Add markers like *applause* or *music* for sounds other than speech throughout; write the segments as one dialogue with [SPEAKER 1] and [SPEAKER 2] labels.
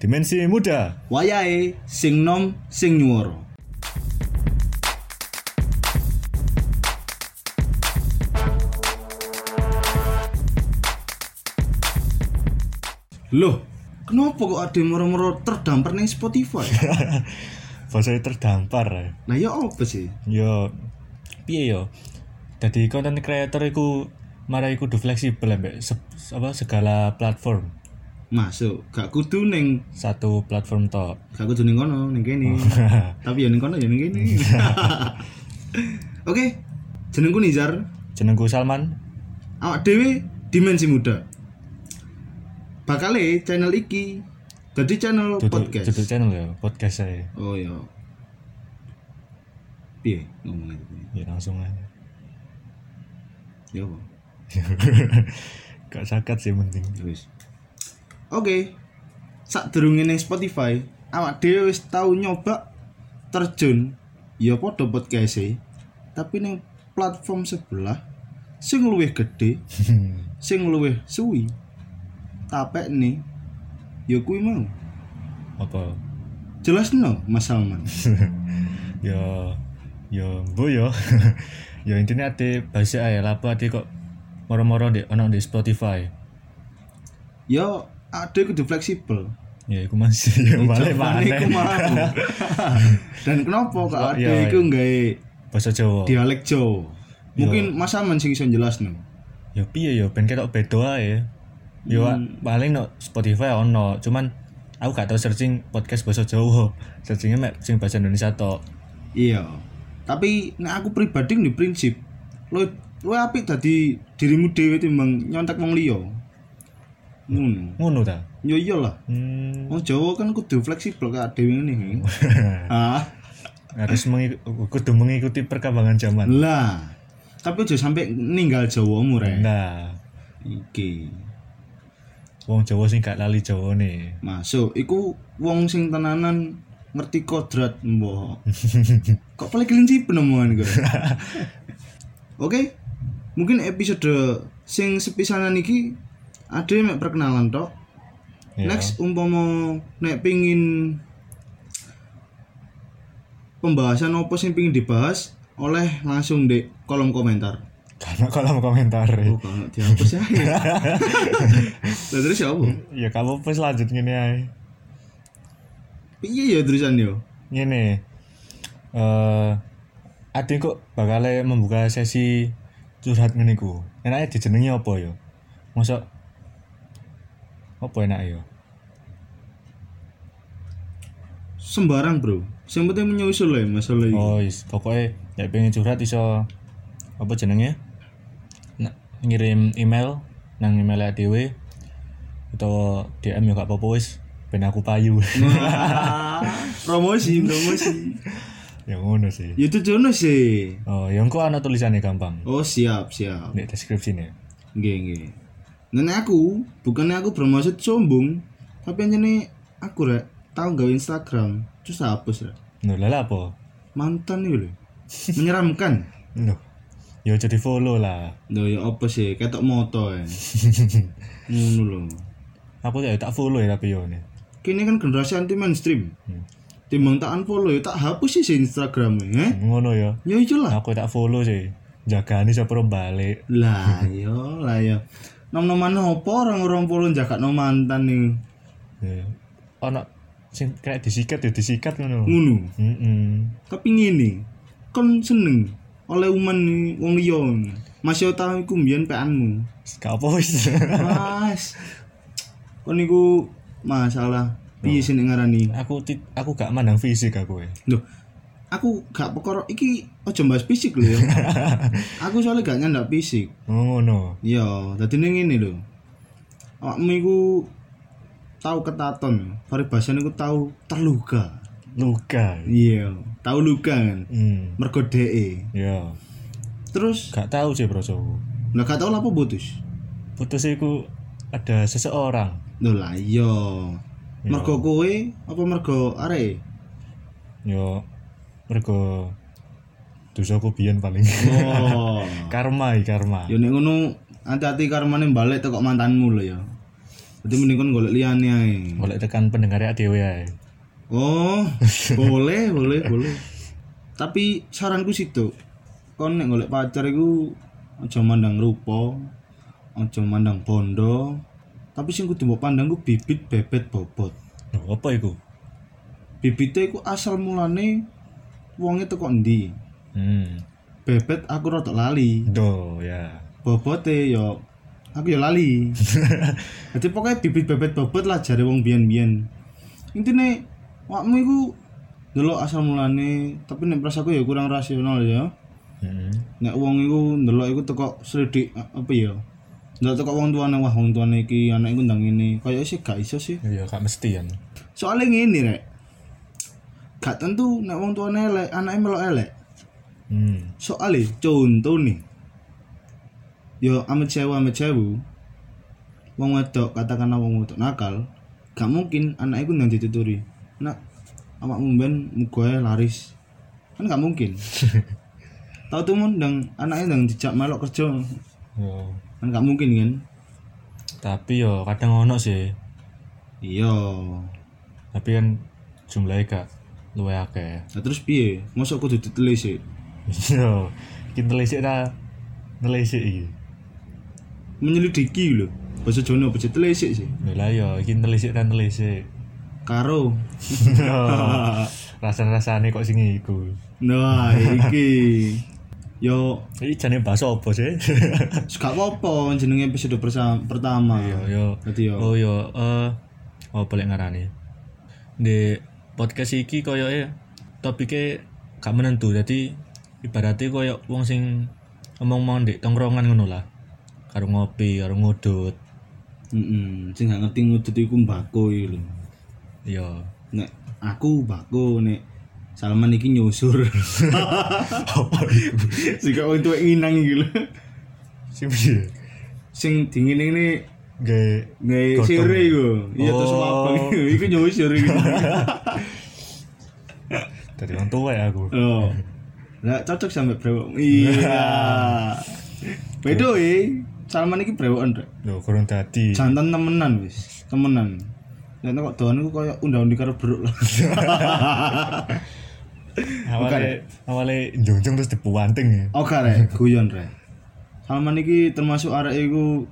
[SPEAKER 1] Dimensi muda. *laughs*
[SPEAKER 2] Wayahe sing nom sing nyuwara. Loh, kenapa kok ada moro-moro terdampar ning Spotify?
[SPEAKER 1] Bahasa terdampar. ya.
[SPEAKER 2] Nah ya apa sih?
[SPEAKER 1] Yo piye yo. Jadi konten creator iku marai kudu fleksibel ambek se- apa segala platform.
[SPEAKER 2] Masuk, gak kudu ning
[SPEAKER 1] Satu platform tok. *laughs*
[SPEAKER 2] gak kudu ning kono, ning kene.
[SPEAKER 1] Oh.
[SPEAKER 2] Tapi ya ning kono ya ning kene. Oke, jenengku Nizar.
[SPEAKER 1] Jenengku Salman.
[SPEAKER 2] awak dewe dimensi muda bakale channel iki jadi channel
[SPEAKER 1] Duduk,
[SPEAKER 2] podcast
[SPEAKER 1] duduk channel ya, podcast saya.
[SPEAKER 2] oh ya piye ngomongnya gitu
[SPEAKER 1] Ya langsung aja.
[SPEAKER 2] ya apa?
[SPEAKER 1] *laughs* Gak sakat sih penting.
[SPEAKER 2] Ya wis oke saat ning Spotify awak dewe wis tau nyoba terjun ya podo podcast e. tapi ning platform sebelah sing luwih gede sing luwih suwi tapek nih ya kuwi mau
[SPEAKER 1] *laughs* apa?
[SPEAKER 2] jelas no Mas Salman
[SPEAKER 1] yo yo bu yo *laughs* yo intinya ati bahasa ae lapo ati kok moro-moro di ono di Spotify
[SPEAKER 2] ya ada kudu fleksibel
[SPEAKER 1] ya iku masih *laughs* ya balik
[SPEAKER 2] Jawabannya iku
[SPEAKER 1] mana
[SPEAKER 2] mau. dan kenapa kak
[SPEAKER 1] Oh,
[SPEAKER 2] ada
[SPEAKER 1] iya,
[SPEAKER 2] iku
[SPEAKER 1] iya.
[SPEAKER 2] nggak
[SPEAKER 1] *laughs* bahasa Jawa
[SPEAKER 2] dialek Jawa mungkin Mas Salman sing iso jelasno
[SPEAKER 1] yo Ya, piye yo ben ketok beda ae yo
[SPEAKER 2] Hmm.
[SPEAKER 1] paling no Spotify ono cuman aku gak tau searching podcast bahasa Jawa *laughs* searchingnya mek sing bahasa Indonesia tok
[SPEAKER 2] iya tapi nek aku pribadi di prinsip lo lo apik tadi dirimu dewe timbang nyontek wong liya ngono
[SPEAKER 1] ngono ta
[SPEAKER 2] yo iyalah
[SPEAKER 1] hmm,
[SPEAKER 2] Wong Jawa kan kudu fleksibel kak dewe ngene ah
[SPEAKER 1] *laughs* harus mengiku, kudu mengikuti perkembangan zaman
[SPEAKER 2] lah tapi aja sampai ninggal Jawamu rek
[SPEAKER 1] nah
[SPEAKER 2] iki
[SPEAKER 1] wong Jawa sing gak lali Jawa nih
[SPEAKER 2] Masuk, iku wong sing tenanan ngerti kodrat mbok. Kok paling kelinci penemuan gue. Oke, mungkin episode sing sepisanan iki ada yang mek perkenalan tok.
[SPEAKER 1] Iya.
[SPEAKER 2] Next umpama nek pingin pembahasan opo sing pingin dibahas oleh langsung di kolom komentar.
[SPEAKER 1] karena kolom komentar
[SPEAKER 2] Oh, kalau dihapus ya. Lah terus ya apa?
[SPEAKER 1] ya kamu pas lanjut gini aja
[SPEAKER 2] Piye ya terusan yo?
[SPEAKER 1] gini eh adik kok bakal membuka sesi curhat ngene ku enaknya dijenengi apa ya masa apa enak ya
[SPEAKER 2] sembarang bro yang penting menyusul lah ya masalah ini
[SPEAKER 1] oh is pokoknya ya pengen curhat iso apa jenenge nah, ngirim email nang email adewe atau DM ya gak apa-apa wis ben aku payu
[SPEAKER 2] *laughs* promosi promosi
[SPEAKER 1] ya ngono sih
[SPEAKER 2] itu jono sih
[SPEAKER 1] oh yang ku ana tulisannya gampang
[SPEAKER 2] oh siap siap
[SPEAKER 1] di deskripsi nih
[SPEAKER 2] nggih nggih nenek aku bukannya aku bermaksud sombong tapi aja nih aku rek tahu nggak Instagram terus hapus rek
[SPEAKER 1] Loh, lah lah apa?
[SPEAKER 2] mantan itu loh menyeramkan
[SPEAKER 1] Loh. Ya jadi follow lah.
[SPEAKER 2] Loh ya apa sih ketok moto
[SPEAKER 1] *laughs*
[SPEAKER 2] ya ngono loh
[SPEAKER 1] Aku ya tak follow ya tapi yo ini.
[SPEAKER 2] kini kan generasi anti mainstream
[SPEAKER 1] Hmm.
[SPEAKER 2] timbang tak unfollow ya tak hapus sih si Instagramnya eh?
[SPEAKER 1] Ngono ya.
[SPEAKER 2] ya iyalah
[SPEAKER 1] Aku tak follow sih. Jagani siapa orang balik.
[SPEAKER 2] lah yo lah yo nom noman opo orang orang puluh jakat nom mantan nih
[SPEAKER 1] Ya. Ono sing kayak disikat ya disikat ngono.
[SPEAKER 2] ngunu
[SPEAKER 1] Heeh.
[SPEAKER 2] tapi ngene kon seneng oleh uman nih wong liya nih. masih tahu iku mbiyen peanmu
[SPEAKER 1] Gak apa wis. *laughs*
[SPEAKER 2] mas kon niku masalah piye sih nek ngarani
[SPEAKER 1] aku ti- aku gak mandang fisik aku ya.
[SPEAKER 2] lho aku gak perkara iki aja bahas fisik lho ya aku soalnya gak nyandak fisik
[SPEAKER 1] Oh, Ngono.
[SPEAKER 2] Iya, tadi ini ngene lho. Awakmu iku tahu ketaton, paribasan iku tahu terluka.
[SPEAKER 1] Luka.
[SPEAKER 2] Iya, tahu luka kan.
[SPEAKER 1] Hmm.
[SPEAKER 2] Mergo dheke.
[SPEAKER 1] Ya.
[SPEAKER 2] Terus
[SPEAKER 1] Gak tahu sih brosoku.
[SPEAKER 2] lah gak tahu lapo putus.
[SPEAKER 1] Putus iku ada seseorang.
[SPEAKER 2] Lho lah iya. Mergo kowe apa mergo arek?
[SPEAKER 1] Yo mergo dosaku biyen paling. *laughs*
[SPEAKER 2] *laughs* Oh.
[SPEAKER 1] karma ya karma.
[SPEAKER 2] ya nek ngono hati-hati karmane balik tekok mantanmu lho ya. Berarti mending kon golek liyane ae.
[SPEAKER 1] Golek tekan pendengarnya dhewe ae.
[SPEAKER 2] Oh, boleh, boleh, boleh. Tapi saranku situ, kon nek golek pacar iku aja mandang rupa, aja mandang bondo. Tapi sing kudu mbok pandang ku bibit bebet bobot.
[SPEAKER 1] Loh, apa iku?
[SPEAKER 2] Bibite iku asal mulane wonge teko endi.
[SPEAKER 1] Hmm.
[SPEAKER 2] Bebet aku rada lali.
[SPEAKER 1] Do ya.
[SPEAKER 2] Bobote yo aku yo lali. Jadi pokoknya bibit bebet bobot lah jare wong biyen-biyen. Intine wakmu iku delok asal mulane, tapi nek perasaku ya kurang rasional ya.
[SPEAKER 1] Hmm.
[SPEAKER 2] Nek wong iku ndelok iku teko selidik a- apa ya? Ndelok teko wong tuane wah wong tuane iki anak iku ndang ngene. Kayak sih gak iso sih.
[SPEAKER 1] Ya gak mesti kan.
[SPEAKER 2] Soalnya ngene rek. Gak tentu nek wong tuane elek, anake melok elek.
[SPEAKER 1] Hmm.
[SPEAKER 2] soalnya contoh nih yo amat sewa amat sewu wong wedok katakanlah wong wedok nakal gak mungkin anak iku nang dituturi nak awak mumben mugoe laris kan gak mungkin tau tuh mun ndang anaknya ndang dijak melok kerja
[SPEAKER 1] Yo.
[SPEAKER 2] kan gak mungkin kan
[SPEAKER 1] Ya. Tapi yo kadang ono sih.
[SPEAKER 2] iya
[SPEAKER 1] Tapi kan jumlahnya gak luwe akeh. *laughs*
[SPEAKER 2] nah, terus piye mosok kudu ditelis sih
[SPEAKER 1] Yo. Kita nelisik Ya. ta. Nelisik iki.
[SPEAKER 2] menyelidiki lho bahasa Jawa apa ditelis sih
[SPEAKER 1] Lho lah yo iki nelisik ta *laughs* nelisik.
[SPEAKER 2] karo
[SPEAKER 1] Rasa-rasane Ya. kok sing iku.
[SPEAKER 2] nah iki yo
[SPEAKER 1] Iki jane bahasa apa *laughs* sih?
[SPEAKER 2] Suka apa jenenge episode persa- pertama.
[SPEAKER 1] Yo yo.
[SPEAKER 2] Berarti yo.
[SPEAKER 1] Iya, Oh yo eh oh boleh ngarani. Di podcast iki koyoke topike gak menentu. Jadi ibaratnya koyo wong sing omong-omong di tongkrongan ngono lah. Karo ngopi, karo ngudut.
[SPEAKER 2] Heeh, sing gak ngerti ngudut iku mbako iki lho.
[SPEAKER 1] Yo.
[SPEAKER 2] Nek aku mbako nek Salman iki
[SPEAKER 1] *laughs*
[SPEAKER 2] nyusur. Sing kok entuk nginang iki lho.
[SPEAKER 1] Sing piye?
[SPEAKER 2] Sing dingin ini
[SPEAKER 1] Gak
[SPEAKER 2] ngai
[SPEAKER 1] Gotong.
[SPEAKER 2] sire iku. Iya terus
[SPEAKER 1] Oh.
[SPEAKER 2] apa iku? *laughs* Iku nyusur iki. *laughs*
[SPEAKER 1] dari orang tua ya aku.
[SPEAKER 2] Oh. Lah cocok sampe
[SPEAKER 1] *laughs*
[SPEAKER 2] brewok. Iya. Bedo e, Salman iki brewokan, Rek.
[SPEAKER 1] Loh, kurang tadi.
[SPEAKER 2] jantan temenan wis temenan dan kok doan iku koyo undang-undang karo beruk lah
[SPEAKER 1] Awalnya awalnya jongjong terus dipuanting *laughs* ya.
[SPEAKER 2] oke rek guyon rek Salman iki termasuk arek iku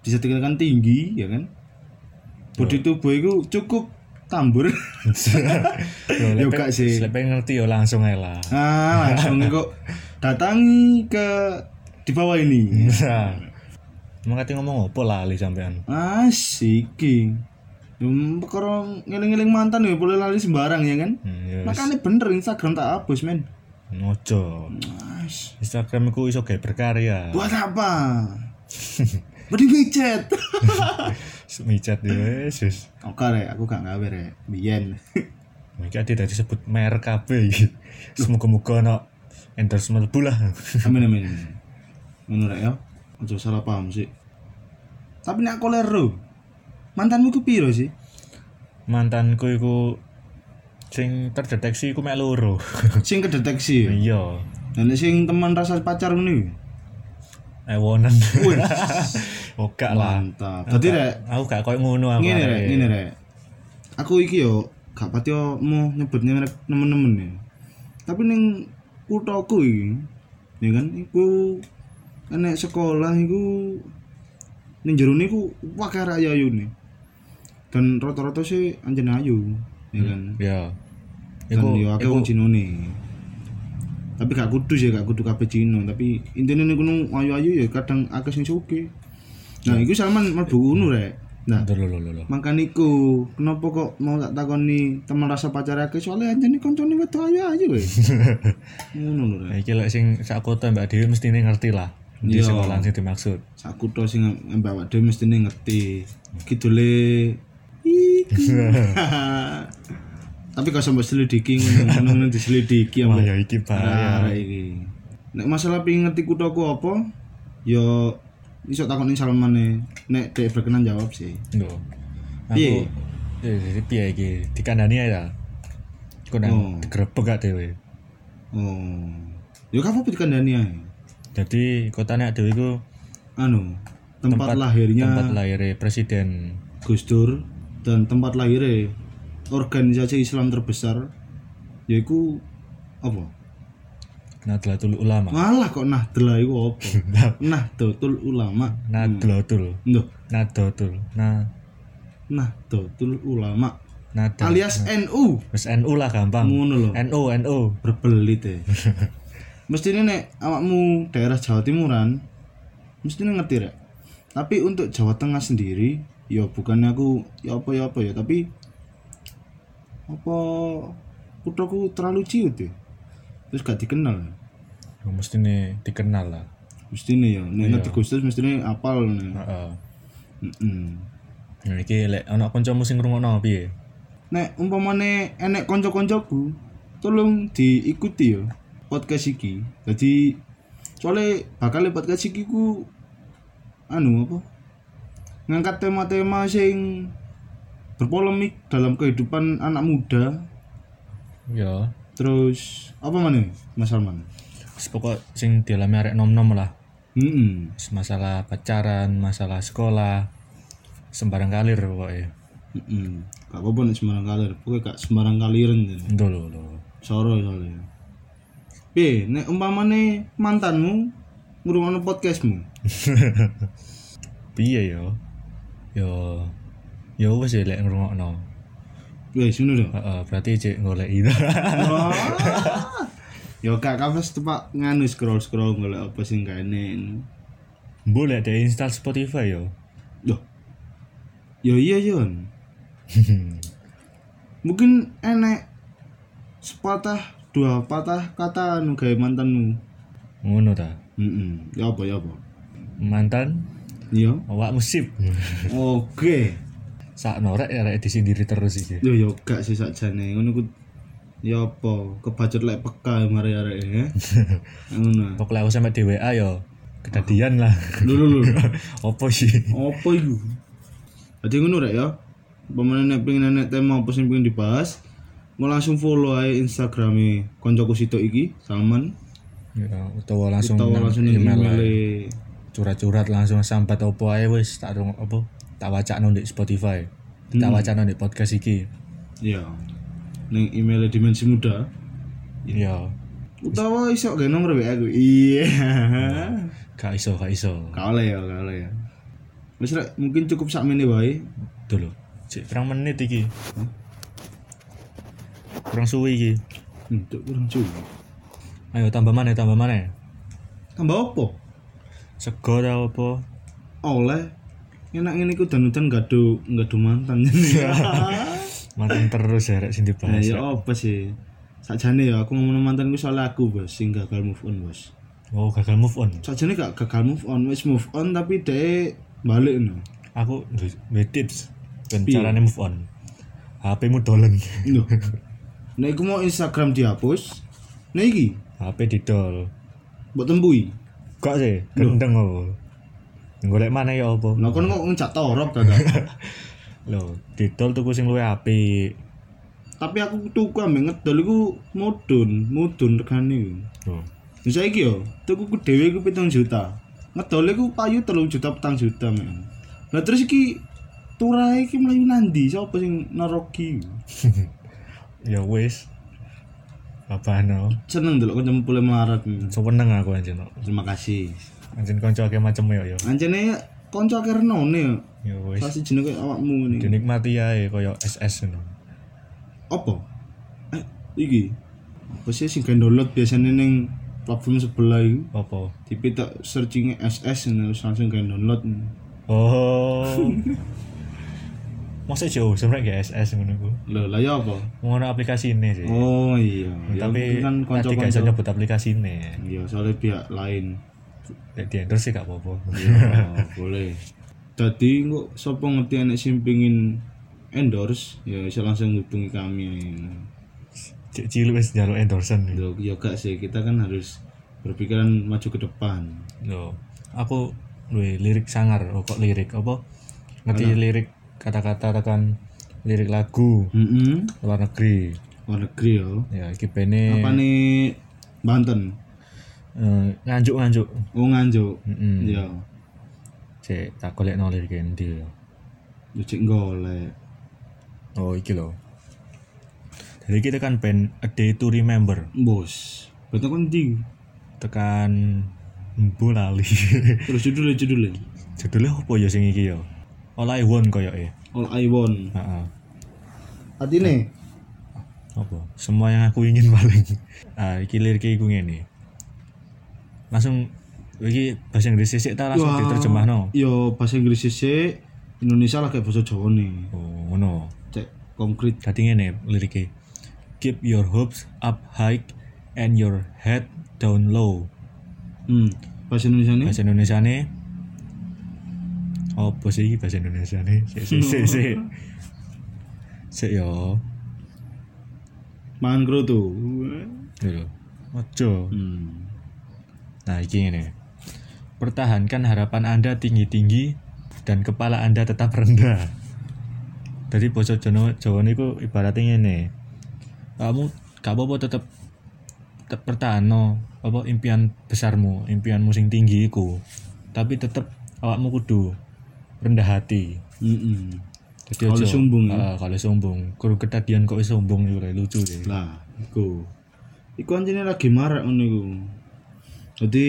[SPEAKER 2] bisa dikatakan tinggi ya kan body tubuh iku cukup tambur
[SPEAKER 1] Yo,
[SPEAKER 2] Yo,
[SPEAKER 1] lepe-
[SPEAKER 2] gak sih.
[SPEAKER 1] lepe ngerti yo langsung ae *laughs* lah.
[SPEAKER 2] nah langsung kok datangi ke di bawah ini
[SPEAKER 1] Nah, emang kate ngomong opo lah li sampean.
[SPEAKER 2] asik iki Hmm, perkara ngeling-ngeling mantan ya boleh lari sembarang ya kan
[SPEAKER 1] Hmm, yo,
[SPEAKER 2] makanya bener Instagram tak hapus men
[SPEAKER 1] Ojo.
[SPEAKER 2] Mas,
[SPEAKER 1] Instagram ku iso gawe berkarya.
[SPEAKER 2] buat apa? Mending micet. *laughs*
[SPEAKER 1] Micat ya, sus.
[SPEAKER 2] Oke rek, aku gak ngawe rek. Biyen.
[SPEAKER 1] Micat dia tadi sebut merek kabeh *laughs* iki. Semoga-moga ono endorse mlebu lah. *laughs*
[SPEAKER 2] Amin amin. amin. Ngono rek ya. Ojo salah paham sih. Tapi nek aku lero. Mantanmu ku piro sih?
[SPEAKER 1] Mantanku iku sing terdeteksi iku mek loro. *laughs*
[SPEAKER 2] Sing kedeteksi ya.
[SPEAKER 1] Iya.
[SPEAKER 2] Dan nek sing teman rasa pacar ngono.
[SPEAKER 1] Ewonan. *laughs*
[SPEAKER 2] Wih,
[SPEAKER 1] Oga lah.
[SPEAKER 2] mantap. Dadi rek,
[SPEAKER 1] Aku gak koyo ngono aku.
[SPEAKER 2] ngene
[SPEAKER 1] arek.
[SPEAKER 2] rek, ngene rek. Aku iki yo gak pati yo mau nyebutnya merek nemen-nemen ya. Tapi ning kuthaku iki, ya kan iku enek sekolah iku ning jero niku akeh rak ayune. Dan rata-rata sih anjen ayu, ya kan.
[SPEAKER 1] Ya.
[SPEAKER 2] Dan iya,
[SPEAKER 1] Iku
[SPEAKER 2] yo akeh
[SPEAKER 1] iku
[SPEAKER 2] wong Cinone. Tapi gak kudu sih, gak kudu kabeh Cino, tapi intine niku nung ayu-ayu ya kadang akeh sing sugih. Nah, iku Salman mlebu ngono rek. Nah,
[SPEAKER 1] Bentar, lho lho
[SPEAKER 2] *laughs*
[SPEAKER 1] lho, lho.
[SPEAKER 2] Makan iku, kenapa kok mau tak takoni teman rasa pacar aku soalnya anjani koncone wedo ayu ayu we. Ngono lho.
[SPEAKER 1] Nah,
[SPEAKER 2] Rek.
[SPEAKER 1] Iki lek sing sak kota Mbak Dewi mesti ngerti lah. Di
[SPEAKER 2] Iya.
[SPEAKER 1] sekolah sing dimaksud.
[SPEAKER 2] Sak kutho sing mbak awak dhewe mesti ngerti. Kidule iku. Tapi kok sampe selidiki ngono-ngono diselidiki
[SPEAKER 1] Wah,
[SPEAKER 2] ambek
[SPEAKER 1] ya iki bahaya.
[SPEAKER 2] arek iki. Nek masalah pengen ngerti kuthoku apa, ya iso takoni Salmane. Nek dhek berkenan jawab sih.
[SPEAKER 1] Lho.
[SPEAKER 2] Piye?
[SPEAKER 1] Aku Eh, jadi piye iki? Dikandani ae ta. Iku nang
[SPEAKER 2] Oh.
[SPEAKER 1] digrebek gak dhewe.
[SPEAKER 2] Oh. Yo kapan dikandani ae.
[SPEAKER 1] Jadi kotane dhewe iku
[SPEAKER 2] Anu, tempat, lahirnya
[SPEAKER 1] tempat lahirnya presiden
[SPEAKER 2] Gus Dur dan tempat lahirnya organisasi Islam terbesar yaitu apa?
[SPEAKER 1] Nahdlatul Ulama.
[SPEAKER 2] Malah kok Nahdlah iku apa? Nahdlatul Ulama.
[SPEAKER 1] Nahdlatul.
[SPEAKER 2] Loh,
[SPEAKER 1] Nahdlatul. Nah,
[SPEAKER 2] Nahdlatul Ulama
[SPEAKER 1] Nahdlatul.
[SPEAKER 2] alias NU.
[SPEAKER 1] Wis NU lah gampang.
[SPEAKER 2] Ngono lho.
[SPEAKER 1] NU NU.
[SPEAKER 2] berbelit ya mestinya nek awakmu daerah Jawa Timuran mestinya ngerti rek tapi untuk Jawa Tengah sendiri ya bukan aku ya apa ya apa ya tapi apa putraku terlalu ciut ya terus gak dikenal
[SPEAKER 1] Ya, mesti nih dikenal lah.
[SPEAKER 2] mestinya ya nek ngerti Gustus mestinya apal nih
[SPEAKER 1] Heeh.
[SPEAKER 2] Mm-mm.
[SPEAKER 1] Nah, iki lek ana kancamu sing ngrungokno piye?
[SPEAKER 2] nek umpamane enek konco-koncoku tolong diikuti ya podcast iki jadi soalnya bakal podcast iki ku anu apa ngangkat tema-tema sing berpolemik dalam kehidupan anak muda
[SPEAKER 1] Ya,
[SPEAKER 2] terus apa mana Mas Salman
[SPEAKER 1] wis pokok sing dialami arek nom-nom lah.
[SPEAKER 2] Mm-mm.
[SPEAKER 1] Wis masalah pacaran, masalah sekolah, sembarang kalir pokoknya.
[SPEAKER 2] Mm-mm. gak apa-apa nek sembarang kalir pokoknya gak sembarang kaliren gitu.
[SPEAKER 1] Ndol lho.
[SPEAKER 2] Soro soalnya. P, nek umpamane mantanmu ngurungin podcastmu.
[SPEAKER 1] Piye yo? Yo. Yo wis ya lek ngrungokno.
[SPEAKER 2] Wes ngono
[SPEAKER 1] *laughs*
[SPEAKER 2] lho.
[SPEAKER 1] Heeh, berarti cek golek itu. *laughs*
[SPEAKER 2] *laughs* Yo gak kabeh tepak nganu scroll-scroll golek apa sing gak enek.
[SPEAKER 1] Boleh ada install Spotify yo.
[SPEAKER 2] Loh. Yo iya yon. Mungkin enek sepatah dua patah kata anu gawe mantanmu.
[SPEAKER 1] Ngono ta.
[SPEAKER 2] Heeh. Ya apa ya apa. Iya.
[SPEAKER 1] Mantan
[SPEAKER 2] Yo.
[SPEAKER 1] awak *laughs* musib.
[SPEAKER 2] Oke.
[SPEAKER 1] Sak norek ya rek disindiri terus iki.
[SPEAKER 2] Yo yo gak sih sakjane ngono ku ya apa kebacut lek peka mari arek ya. Ngono.
[SPEAKER 1] Pokoknya aku sampe DWA yo. Kedadian lah. *laughs*
[SPEAKER 2] Lho lho lho.
[SPEAKER 1] Opo sih?
[SPEAKER 2] Apa iku? Jadi ngono rek ya. Pemane nek pengen enek tema apa sing pengen dibahas, mau langsung follow ae Instagrame koncoku situ iki, Salman.
[SPEAKER 1] Ya, utawa langsung
[SPEAKER 2] Tahu
[SPEAKER 1] nang
[SPEAKER 2] langsung ning
[SPEAKER 1] email ae.
[SPEAKER 2] email
[SPEAKER 1] curhat-curhat langsung sambat opo ae wis tak rung opo tak wacakno di Spotify. Tak wacakno di podcast iki.
[SPEAKER 2] Ya. Ning email dimensi muda.
[SPEAKER 1] Iya.
[SPEAKER 2] Utawa iso gawe nomor WA ku. Iya. *laughs*
[SPEAKER 1] Iya. Gak iso, gak iso.
[SPEAKER 2] Gak oleh ya, gak oleh ya. Wis rek, mungkin cukup sakmene wae.
[SPEAKER 1] Dulu. Cek pirang menit iki. Kurang suwi iki.
[SPEAKER 2] Untuk kurang cukup.
[SPEAKER 1] Ayo tambah maneh, tambah maneh.
[SPEAKER 2] Tambah apa?
[SPEAKER 1] Sego ta opo?
[SPEAKER 2] Oleh enak ngene iku danutan gak do gak do mantan.
[SPEAKER 1] *laughs* Matiin terus ya rek sing
[SPEAKER 2] Nah,
[SPEAKER 1] dibahas.
[SPEAKER 2] Eh, ya apa sih? Sakjane ya aku ngomong mantan ku soalnya aku, Bos, sing gagal move on, Bos.
[SPEAKER 1] Oh, gagal move on.
[SPEAKER 2] Sakjane gak gagal move on, wis move on tapi dhek balik no.
[SPEAKER 1] Aku ndu- duwe tips ben carane move on. HP-mu *laughs* dolen.
[SPEAKER 2] Lho. Nek iku mau Instagram dihapus, nek iki
[SPEAKER 1] HP didol.
[SPEAKER 2] mbok tembui.
[SPEAKER 1] Kok sih? Gendeng opo? Golek mana ya opo?
[SPEAKER 2] Lah kon kok ngejak torop kakak.
[SPEAKER 1] Loh, didol tuku sing luwih apik.
[SPEAKER 2] tapi aku tuku ambek ngedol iku mudun, mudun regane iku.
[SPEAKER 1] Loh,
[SPEAKER 2] Lah saiki yo, tuku ku dhewe iku 7 juta. Ngedole ku payu 3 juta petang juta, men. Lah terus iki turae iki mlayu nandi sapa sing nerogi?
[SPEAKER 1] ya wis. Apano?
[SPEAKER 2] Seneng delok kancamu pule melarat. men.
[SPEAKER 1] Seweneng aku anjen. no.
[SPEAKER 2] Terima kasih.
[SPEAKER 1] Anjen kanca akeh macem yo yo.
[SPEAKER 2] Anjene kanca kernone yo.
[SPEAKER 1] Ya wis.
[SPEAKER 2] Sasi jenenge koyo awakmu ngene.
[SPEAKER 1] Dinikmati ae koyo SS ngono.
[SPEAKER 2] Apa? Eh, iki. Apa sih sing download biasanya ning platform sebelah iku?
[SPEAKER 1] Apa?
[SPEAKER 2] Tipe tak searching SS ngono terus langsung kan download. *laughs*
[SPEAKER 1] Oh. Masa jauh sebenarnya gak SS ngono ku.
[SPEAKER 2] Lho, lah ya apa?
[SPEAKER 1] Ngono aplikasi ini sih.
[SPEAKER 2] Oh iya, ya,
[SPEAKER 1] Tapi tadi gak
[SPEAKER 2] mungkin kan
[SPEAKER 1] bisa
[SPEAKER 2] kanca-kanca.
[SPEAKER 1] nyebut aplikasi ini.
[SPEAKER 2] Iya, soalnya pihak
[SPEAKER 1] *laughs*
[SPEAKER 2] lain.
[SPEAKER 1] Lek di endorse sih gak apa-apa. *laughs*
[SPEAKER 2] Oh,
[SPEAKER 1] Ya,
[SPEAKER 2] boleh. Jadi kok sapa ngerti enek sing pengin endorse, ya bisa langsung hubungi kami.
[SPEAKER 1] Cek cilik wis njaluk endorsen.
[SPEAKER 2] Lho, ya gak sih, kita kan harus berpikiran maju ke depan.
[SPEAKER 1] Loh, aku duwe lirik sangar. Oh, kok lirik apa? Ngerti lirik kata-kata tekan lirik lagu
[SPEAKER 2] Heeh.
[SPEAKER 1] luar negeri.
[SPEAKER 2] Luar negeri ya.
[SPEAKER 1] Ya, iki pene
[SPEAKER 2] Apa nih Banten?
[SPEAKER 1] eh, nganjuk-nganjuk. Hmm.
[SPEAKER 2] Oh Nganjuk.
[SPEAKER 1] Mm-mm.
[SPEAKER 2] Ya.
[SPEAKER 1] Cek tak golek nolir kendi yo.
[SPEAKER 2] Yo cek golek.
[SPEAKER 1] Oh iki lho. Jadi kita kan band A Day to Remember
[SPEAKER 2] Bos. Betul kan ndi?
[SPEAKER 1] tekan mbo lali. *laughs*
[SPEAKER 2] Terus judulnya judulnya.
[SPEAKER 1] Judulnya apa ya sing iki yo? All I Want koyoke.
[SPEAKER 2] All I want.
[SPEAKER 1] Heeh.
[SPEAKER 2] Atine
[SPEAKER 1] Apa? Semua yang aku ingin *laughs* paling. Ah, iki liriknya iku ngene. Langsung iki bahasa Inggris sik ta langsung
[SPEAKER 2] Wah.
[SPEAKER 1] diterjemahno.
[SPEAKER 2] yo bahasa Inggris sih Indonesia lah kayak bahasa Jawa nih.
[SPEAKER 1] Oh, ngono.
[SPEAKER 2] Cek konkret.
[SPEAKER 1] Tadi ngene liriknya Keep your hopes up high and your head down low.
[SPEAKER 2] Hmm. Bahasa Indonesia nih.
[SPEAKER 1] Bahasa Indonesia nih apa sih iki bahasa Indonesia nih? Sik sik sik sik. Sik yo.
[SPEAKER 2] Mangan kru tuh.
[SPEAKER 1] Lho. Ojo.
[SPEAKER 2] Hmm.
[SPEAKER 1] Nah, iki ngene. Pertahankan harapan Anda tinggi-tinggi dan kepala Anda tetap rendah. Jadi basa Jawa Jawa niku ibaratnya ngene. Kamu gak apa-apa tetep tetep pertahano apa impian besarmu, impianmu sing tinggi iku. Tapi tetep awakmu kudu rendah hati.
[SPEAKER 2] Hmm.
[SPEAKER 1] Jadi
[SPEAKER 2] Kalau
[SPEAKER 1] ojo-
[SPEAKER 2] sombong ya?
[SPEAKER 1] Ah, kalau sombong. Kudu ketadian kok wis sombong iku lho, lucu deh.
[SPEAKER 2] Lah, iku. Iku anjene lagi marak ngono iku. Jadi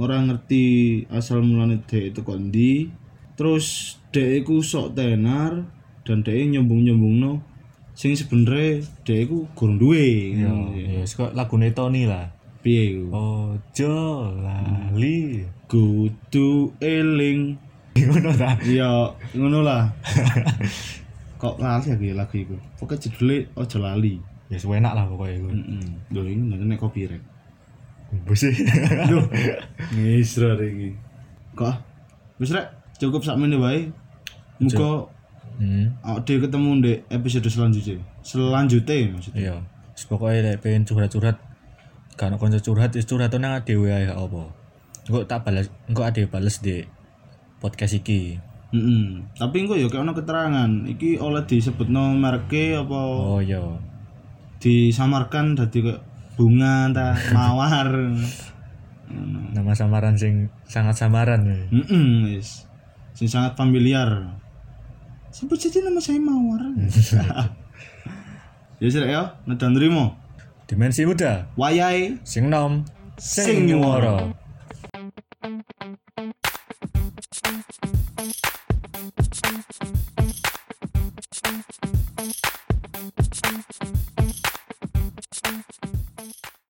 [SPEAKER 2] orang ngerti asal mulane dhek itu kondi, terus dhek iku sok tenar dan dhek e nyombong-nyombongno sing sebenere dhek iku gurung duwe.
[SPEAKER 1] Yo,
[SPEAKER 2] ngono
[SPEAKER 1] yo,
[SPEAKER 2] ya.
[SPEAKER 1] suka lagune Tony lah.
[SPEAKER 2] Piye iku?
[SPEAKER 1] Ojo lali.
[SPEAKER 2] Kudu eling.
[SPEAKER 1] Ngono ta?
[SPEAKER 2] Ya, ngono lah. Kok lali aku ya lagu iku. Pokoke judule Ojo Lali.
[SPEAKER 1] Ya yes, enak lah pokoknya iku.
[SPEAKER 2] Heeh. Lho iki nanti nek copyright.
[SPEAKER 1] Bus sih.
[SPEAKER 2] Duh, ngisro iki. Kok? ah? Wis rek, cukup sakmene wae. Muga
[SPEAKER 1] Hmm.
[SPEAKER 2] awak dhewe ketemu di episode selanjutnya. Selanjutnya maksudnya.
[SPEAKER 1] Iya. Terus Pokoknya lek pengen curhat-curhat kan kanca curhat wis curhat nang dhewe ae gak apa. Engko tak balas, engko ade bales di podcast iki.
[SPEAKER 2] Heeh. Tapi engko yo kayak ono keterangan. Iki oleh disebutno mereke apa
[SPEAKER 1] Oh iya.
[SPEAKER 2] disamarkan dadi kayak bunga ta,
[SPEAKER 1] *laughs*
[SPEAKER 2] mawar.
[SPEAKER 1] Nama samaran sing sangat samaran. ya.
[SPEAKER 2] Heeh, wis. Sing sangat familiar. Sebut saja nama saya
[SPEAKER 1] *laughs*
[SPEAKER 2] Mawar. *laughs* ya sih ya, ngedan terima.
[SPEAKER 1] Dimensi udah
[SPEAKER 2] Wayai
[SPEAKER 1] sing nom
[SPEAKER 2] Sing
[SPEAKER 1] sing nyuwara.